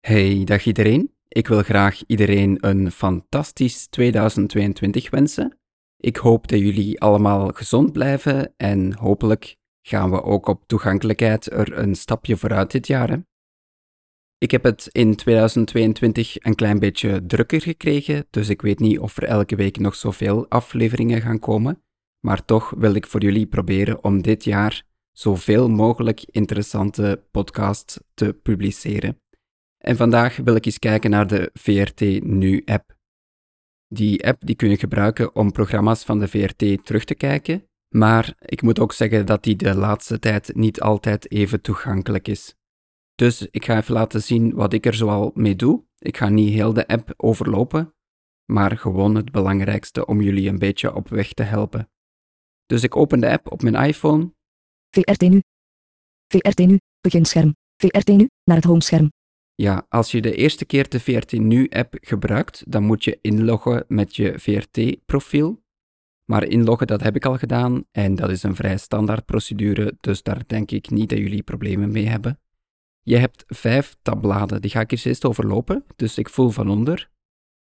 Hey, dag iedereen. Ik wil graag iedereen een fantastisch 2022 wensen. Ik hoop dat jullie allemaal gezond blijven en hopelijk gaan we ook op toegankelijkheid er een stapje vooruit dit jaar. hè. Ik heb het in 2022 een klein beetje drukker gekregen, dus ik weet niet of er elke week nog zoveel afleveringen gaan komen. Maar toch wil ik voor jullie proberen om dit jaar zoveel mogelijk interessante podcasts te publiceren. En vandaag wil ik eens kijken naar de VRT Nu app. Die app die kun je gebruiken om programma's van de VRT terug te kijken, maar ik moet ook zeggen dat die de laatste tijd niet altijd even toegankelijk is. Dus ik ga even laten zien wat ik er zoal mee doe. Ik ga niet heel de app overlopen, maar gewoon het belangrijkste om jullie een beetje op weg te helpen. Dus ik open de app op mijn iPhone VRT nu. VRT nu, beginscherm. VRT nu, naar het homescherm. Ja, als je de eerste keer de VRT Nu-app gebruikt, dan moet je inloggen met je VRT-profiel. Maar inloggen, dat heb ik al gedaan en dat is een vrij standaard procedure, dus daar denk ik niet dat jullie problemen mee hebben. Je hebt vijf tabbladen, die ga ik eens eerst overlopen, dus ik voel van onder.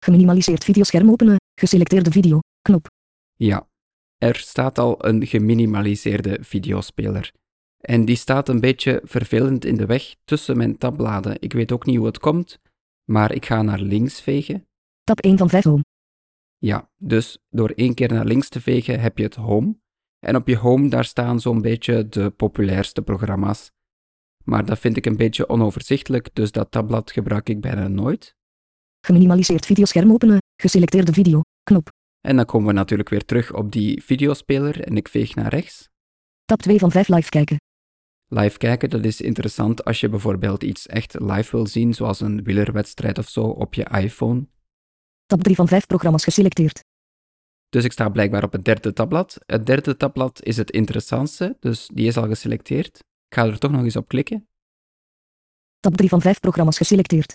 Geminimaliseerd videoscherm openen. Geselecteerde video. Knop. Ja, er staat al een geminimaliseerde videospeler. En die staat een beetje vervelend in de weg tussen mijn tabbladen. Ik weet ook niet hoe het komt, maar ik ga naar links vegen. Tab 1 van 5 home. Ja, dus door één keer naar links te vegen heb je het home. En op je home daar staan zo'n beetje de populairste programma's. Maar dat vind ik een beetje onoverzichtelijk, dus dat tabblad gebruik ik bijna nooit. Geminimaliseerd videoscherm openen. Geselecteerde video. Knop. En dan komen we natuurlijk weer terug op die videospeler en ik veeg naar rechts. Tab 2 van 5 live kijken. Live kijken, dat is interessant als je bijvoorbeeld iets echt live wil zien, zoals een wielerwedstrijd of zo op je iPhone. Tab 3 van 5 programma's geselecteerd. Dus ik sta blijkbaar op het derde tabblad. Het derde tabblad is het interessantste, dus die is al geselecteerd. Ik ga er toch nog eens op klikken. Tab 3 van 5 programma's geselecteerd.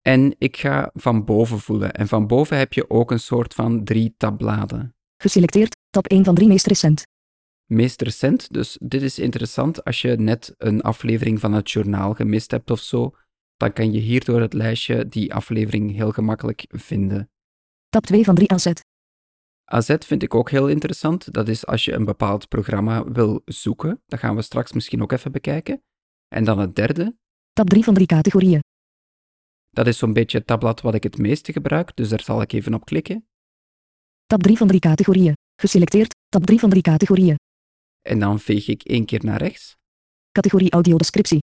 En ik ga van boven voelen. En van boven heb je ook een soort van drie tabbladen. Geselecteerd. Tab 1 van 3 meest recent. Meest recent, dus dit is interessant als je net een aflevering van het journaal gemist hebt of zo, dan kan je hier door het lijstje die aflevering heel gemakkelijk vinden. Tab 2 van 3 aanzet. AZ vind ik ook heel interessant. Dat is als je een bepaald programma wil zoeken. Dat gaan we straks misschien ook even bekijken. En dan het derde, Tab 3 van 3 categorieën. dat is zo'n beetje het tabblad wat ik het meeste gebruik, dus daar zal ik even op klikken. Tab 3 van 3 categorieën. Geselecteerd. Tab 3 van 3 categorieën. En dan veeg ik één keer naar rechts. Categorie audiodescriptie.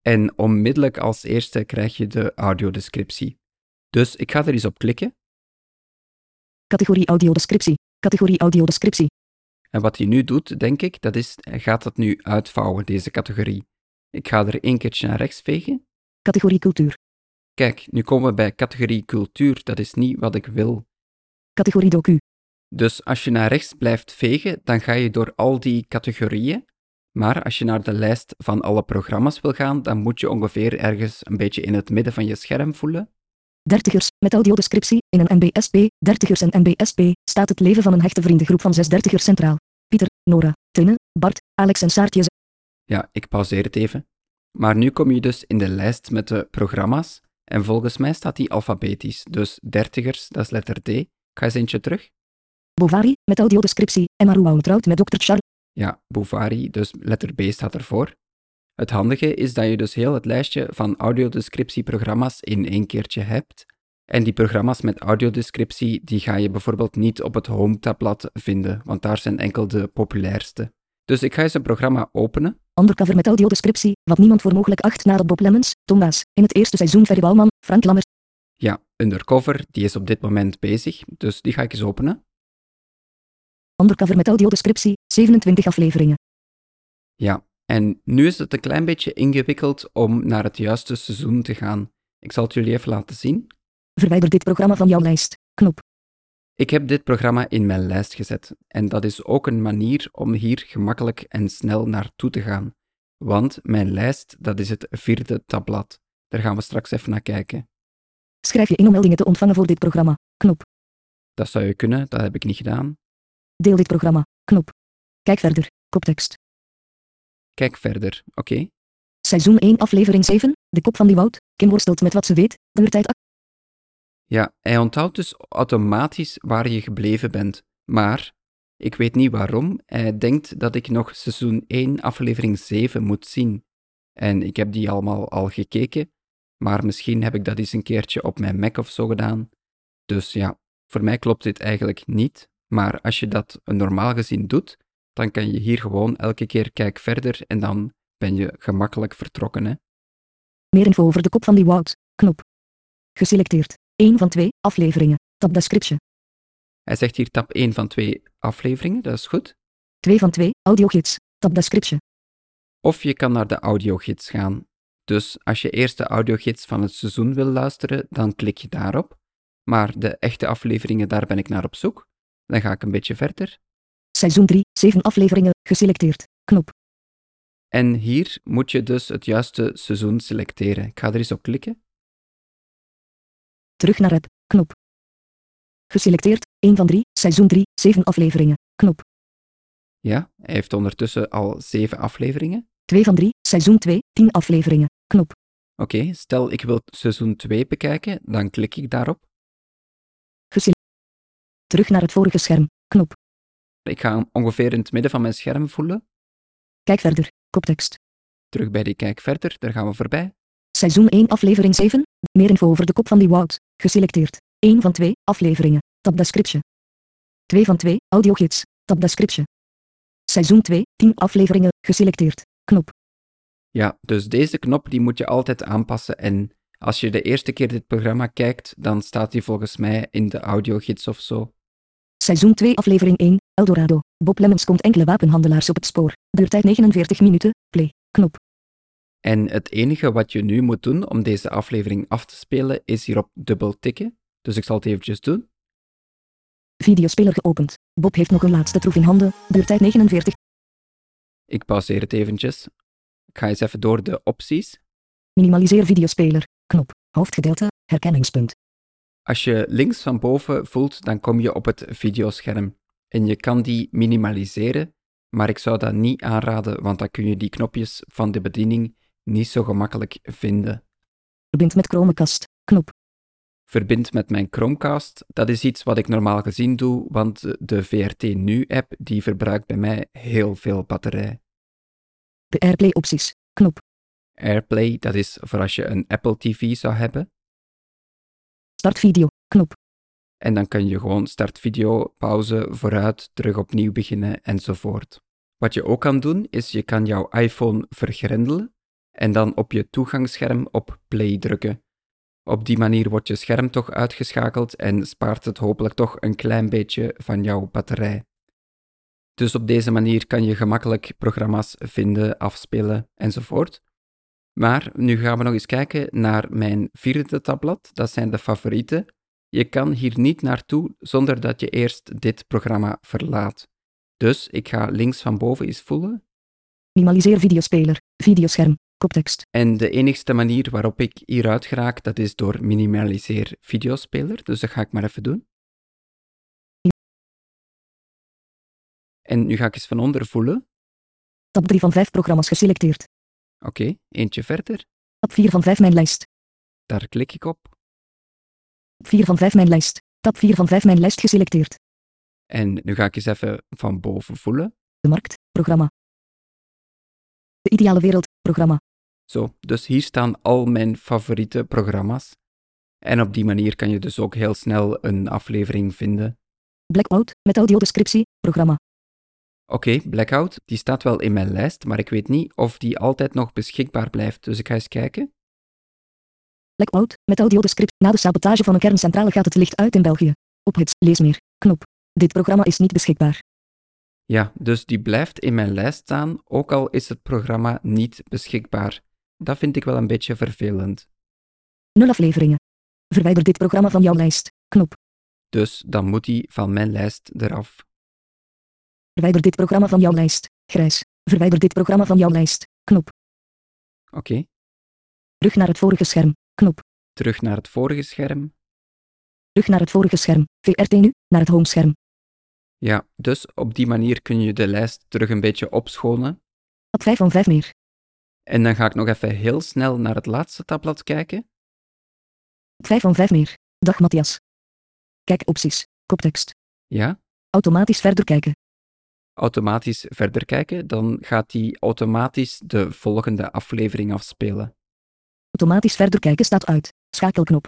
En onmiddellijk als eerste krijg je de audiodescriptie. Dus ik ga er eens op klikken. Categorie audiodescriptie. Categorie audiodescriptie. En wat hij nu doet, denk ik, dat is, hij gaat dat nu uitvouwen, deze categorie. Ik ga er één keertje naar rechts vegen. Categorie cultuur. Kijk, nu komen we bij categorie cultuur. Dat is niet wat ik wil. Categorie docu. Dus als je naar rechts blijft vegen, dan ga je door al die categorieën. Maar als je naar de lijst van alle programma's wil gaan, dan moet je ongeveer ergens een beetje in het midden van je scherm voelen. Dertigers, met audiodescriptie, in een MBSP, dertigers en MBSP, staat het leven van een hechte vriendengroep van zes dertigers centraal. Pieter, Nora, Tinne, Bart, Alex en Saartje z- Ja, ik pauzeer het even. Maar nu kom je dus in de lijst met de programma's. En volgens mij staat die alfabetisch. Dus dertigers, dat is letter D. Ik ga eens eentje terug. Bovari, met audiodescriptie, Emma Rouwaum trouwt met dokter Charles, Ja, Bouvari, dus letter B staat ervoor. Het handige is dat je dus heel het lijstje van audiodescriptieprogramma's in één keertje hebt. En die programma's met audiodescriptie, die ga je bijvoorbeeld niet op het home tabblad vinden, want daar zijn enkel de populairste. Dus ik ga eens een programma openen. undercover met audiodescriptie, wat niemand voor mogelijk acht nadat Bob Lemmens, Tombaas, in het eerste seizoen Ferry Bouwman, Frank Lammers, Ja, Undercover, die is op dit moment bezig, dus die ga ik eens openen. undercover met audiodescriptie, 27 afleveringen. En nu is het een klein beetje ingewikkeld om naar het juiste seizoen te gaan. Ik zal het jullie even laten zien. Verwijder dit programma van jouw lijst. Knop. Ik heb dit programma in mijn lijst gezet en dat is ook een manier om hier gemakkelijk en snel naartoe te gaan. Want mijn lijst, dat is het vierde tabblad. Daar gaan we straks even naar kijken. Schrijf je in om meldingen te ontvangen voor dit programma. Knop. Dat zou je kunnen, dat heb ik niet gedaan. Deel dit programma. Knop. Kijk verder. Koptekst. Kijk verder, oké? Seizoen 1 aflevering 7, de kop van die woud, Kim worstelt met wat ze weet, uurtijd Ja, hij onthoudt dus automatisch waar je gebleven bent. Maar, ik weet niet waarom, hij denkt dat ik nog seizoen 1 aflevering 7 moet zien. En ik heb die allemaal al gekeken, maar misschien heb ik dat eens een keertje op mijn Mac of zo gedaan. Dus ja, voor mij klopt dit eigenlijk niet, maar als je dat normaal gezien doet, dan kan je hier gewoon elke keer kijk verder en dan ben je gemakkelijk vertrokken. Hè? Meer info over de kop van die woud, knop. Geselecteerd. 1 van 2 afleveringen. Tab description. Hij zegt hier tap 1 van 2 afleveringen, dat is goed. 2 van 2 audiogids. Tab description. Of je kan naar de audiogids gaan. Dus als je eerst de audiogids van het seizoen wil luisteren, dan klik je daarop. Maar de echte afleveringen, daar ben ik naar op zoek. Dan ga ik een beetje verder. Seizoen 3, 7 afleveringen, geselecteerd. Knop. En hier moet je dus het juiste seizoen selecteren. Ik ga er eens op klikken. Terug naar app. Knop. Geselecteerd. 1 van 3, seizoen 3, 7 afleveringen. Knop. Ja, hij heeft ondertussen al zeven afleveringen. 2 van 3, seizoen 2, 10 afleveringen. Knop. Oké, stel ik wil seizoen 2 bekijken, dan klik ik daarop. Terug naar het vorige scherm. Knop. Ik ga hem ongeveer in het midden van mijn scherm voelen. Kijk verder. Koptekst. Terug bij die kijk verder, daar gaan we voorbij. Seizoen 1 aflevering 7. Meer info over de kop van die woud. Geselecteerd. 1 van 2 afleveringen. Tab description. 2 van 2 audiogids. Tab description. Seizoen 2 10 afleveringen. Geselecteerd. Knop. Ja, dus deze knop die moet je altijd aanpassen. En als je de eerste keer dit programma kijkt, dan staat die volgens mij in de audiogids of zo. Seizoen 2 aflevering 1 Eldorado. Bob Lemmens komt enkele wapenhandelaars op het spoor. Duurtijd 49 minuten. Play. Knop. En het enige wat je nu moet doen om deze aflevering af te spelen, is hierop dubbel tikken. Dus ik zal het eventjes doen. Videospeler geopend. Bob heeft nog een laatste troef in handen. Duurtijd 49. Ik pauzeer het eventjes. Ik ga eens even door de opties. Minimaliseer videospeler. Knop. Hoofdgedeelte. Herkenningspunt. Als je links van boven voelt, dan kom je op het videoscherm. En je kan die minimaliseren, maar ik zou dat niet aanraden, want dan kun je die knopjes van de bediening niet zo gemakkelijk vinden. Verbind met Chromecast. Knop. verbind met mijn Chromecast. Dat is iets wat ik normaal gezien doe, want de VRT Nu-app die verbruikt bij mij heel veel batterij. De Airplay opties. Knop. AirPlay, dat is voor als je een Apple TV zou hebben. Start video. Knop. En dan kan je gewoon start video, pauze, vooruit, terug opnieuw beginnen enzovoort. Wat je ook kan doen, is je kan jouw iPhone vergrendelen en dan op je toegangsscherm op play drukken. Op die manier wordt je scherm toch uitgeschakeld en spaart het hopelijk toch een klein beetje van jouw batterij. Dus op deze manier kan je gemakkelijk programma's vinden, afspelen enzovoort. Maar nu gaan we nog eens kijken naar mijn vierde tabblad, dat zijn de favorieten. Je kan hier niet naartoe zonder dat je eerst dit programma verlaat. Dus ik ga links van boven eens voelen. Minimaliseer videospeler. Videoscherm. Koptekst. En de enigste manier waarop ik hieruit geraak, dat is door minimaliseer videospeler. Dus dat ga ik maar even doen. En nu ga ik eens van onder voelen. Tab 3 van 5 programma's geselecteerd. Oké, eentje verder. Tab 4 van 5 mijn lijst. Daar klik ik op. Tab 4 van 5 mijn lijst. Tab 4 van 5 mijn lijst geselecteerd. En nu ga ik eens even van boven voelen. De markt. Programma. De ideale wereld. Programma. Zo, dus hier staan al mijn favoriete programma's. En op die manier kan je dus ook heel snel een aflevering vinden. Blackout. Met audiodescriptie. Programma. Oké, Blackout, die staat wel in mijn lijst, maar ik weet niet of die altijd nog beschikbaar blijft, dus ik ga eens kijken. Blackout. Met audiodescriptie. Na de sabotage van een kerncentrale gaat het licht uit in België. Op het lees meer. Knop. Dit programma is niet beschikbaar. Ja, dus die blijft in mijn lijst staan, ook al is het programma niet beschikbaar. Dat vind ik wel een beetje vervelend. Nul afleveringen. Verwijder dit programma van jouw lijst. Knop. Dus dan moet die van mijn lijst eraf. Verwijder dit programma van jouw lijst. Grijs. Verwijder dit programma van jouw lijst. Knop. Oké, Terug naar het vorige scherm. Knop. terug naar het vorige scherm. Terug naar het vorige scherm. VRT nu. Naar het homescherm. Ja, dus op die manier kun je de lijst terug een beetje opschonen. Tab 5 van 5 meer. En dan ga ik nog even heel snel naar het laatste tabblad kijken. 5 van 5 meer. Dag Matthias. Kijk opties. Koptekst. Ja, Automatisch verder kijken. automatisch verder kijken. Dan gaat hij automatisch de volgende aflevering afspelen. Automatisch verder kijken staat uit. Schakelknop.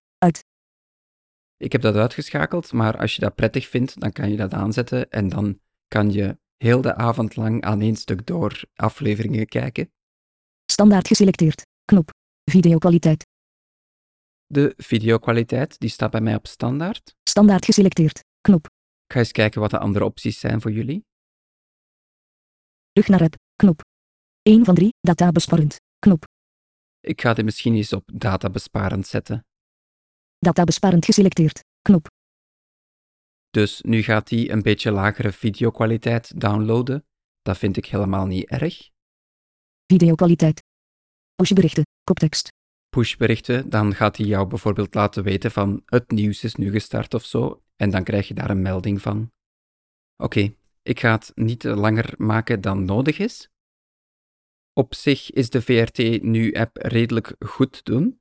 Ik heb dat uitgeschakeld, maar als je dat prettig vindt, dan kan je dat aanzetten en dan kan je heel de avond lang aan één stuk door afleveringen kijken. Standaard geselecteerd. Knop. Videokwaliteit. De videokwaliteit, die staat bij mij op standaard. Standaard geselecteerd. Knop. Ik ga eens kijken wat de andere opties zijn voor jullie. Rug naar app. Knop. 1 van 3. Data besparend. Knop. Ik ga dit misschien eens op databesparend zetten. Data besparend geselecteerd. Knop. Dus nu gaat hij een beetje lagere videokwaliteit downloaden. Dat vind ik helemaal niet erg. Videokwaliteit. Pushberichten. Koptekst. pushberichten, dan gaat hij jou bijvoorbeeld laten weten van het nieuws is nu gestart of zo, en dan krijg je daar een melding van. Oké, ik ga het niet langer maken dan nodig is. Op zich is de VRT nu-app redelijk goed te doen.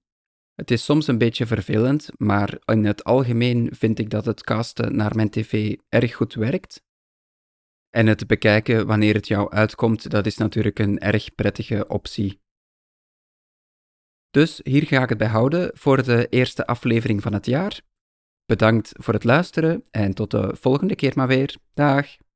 Het is soms een beetje vervelend, maar in het algemeen vind ik dat het casten naar mijn tv erg goed werkt. En het bekijken wanneer het jou uitkomt, dat is natuurlijk een erg prettige optie. Dus hier ga ik het bij houden voor de eerste aflevering van het jaar. Bedankt voor het luisteren en tot de volgende keer maar weer. Dag!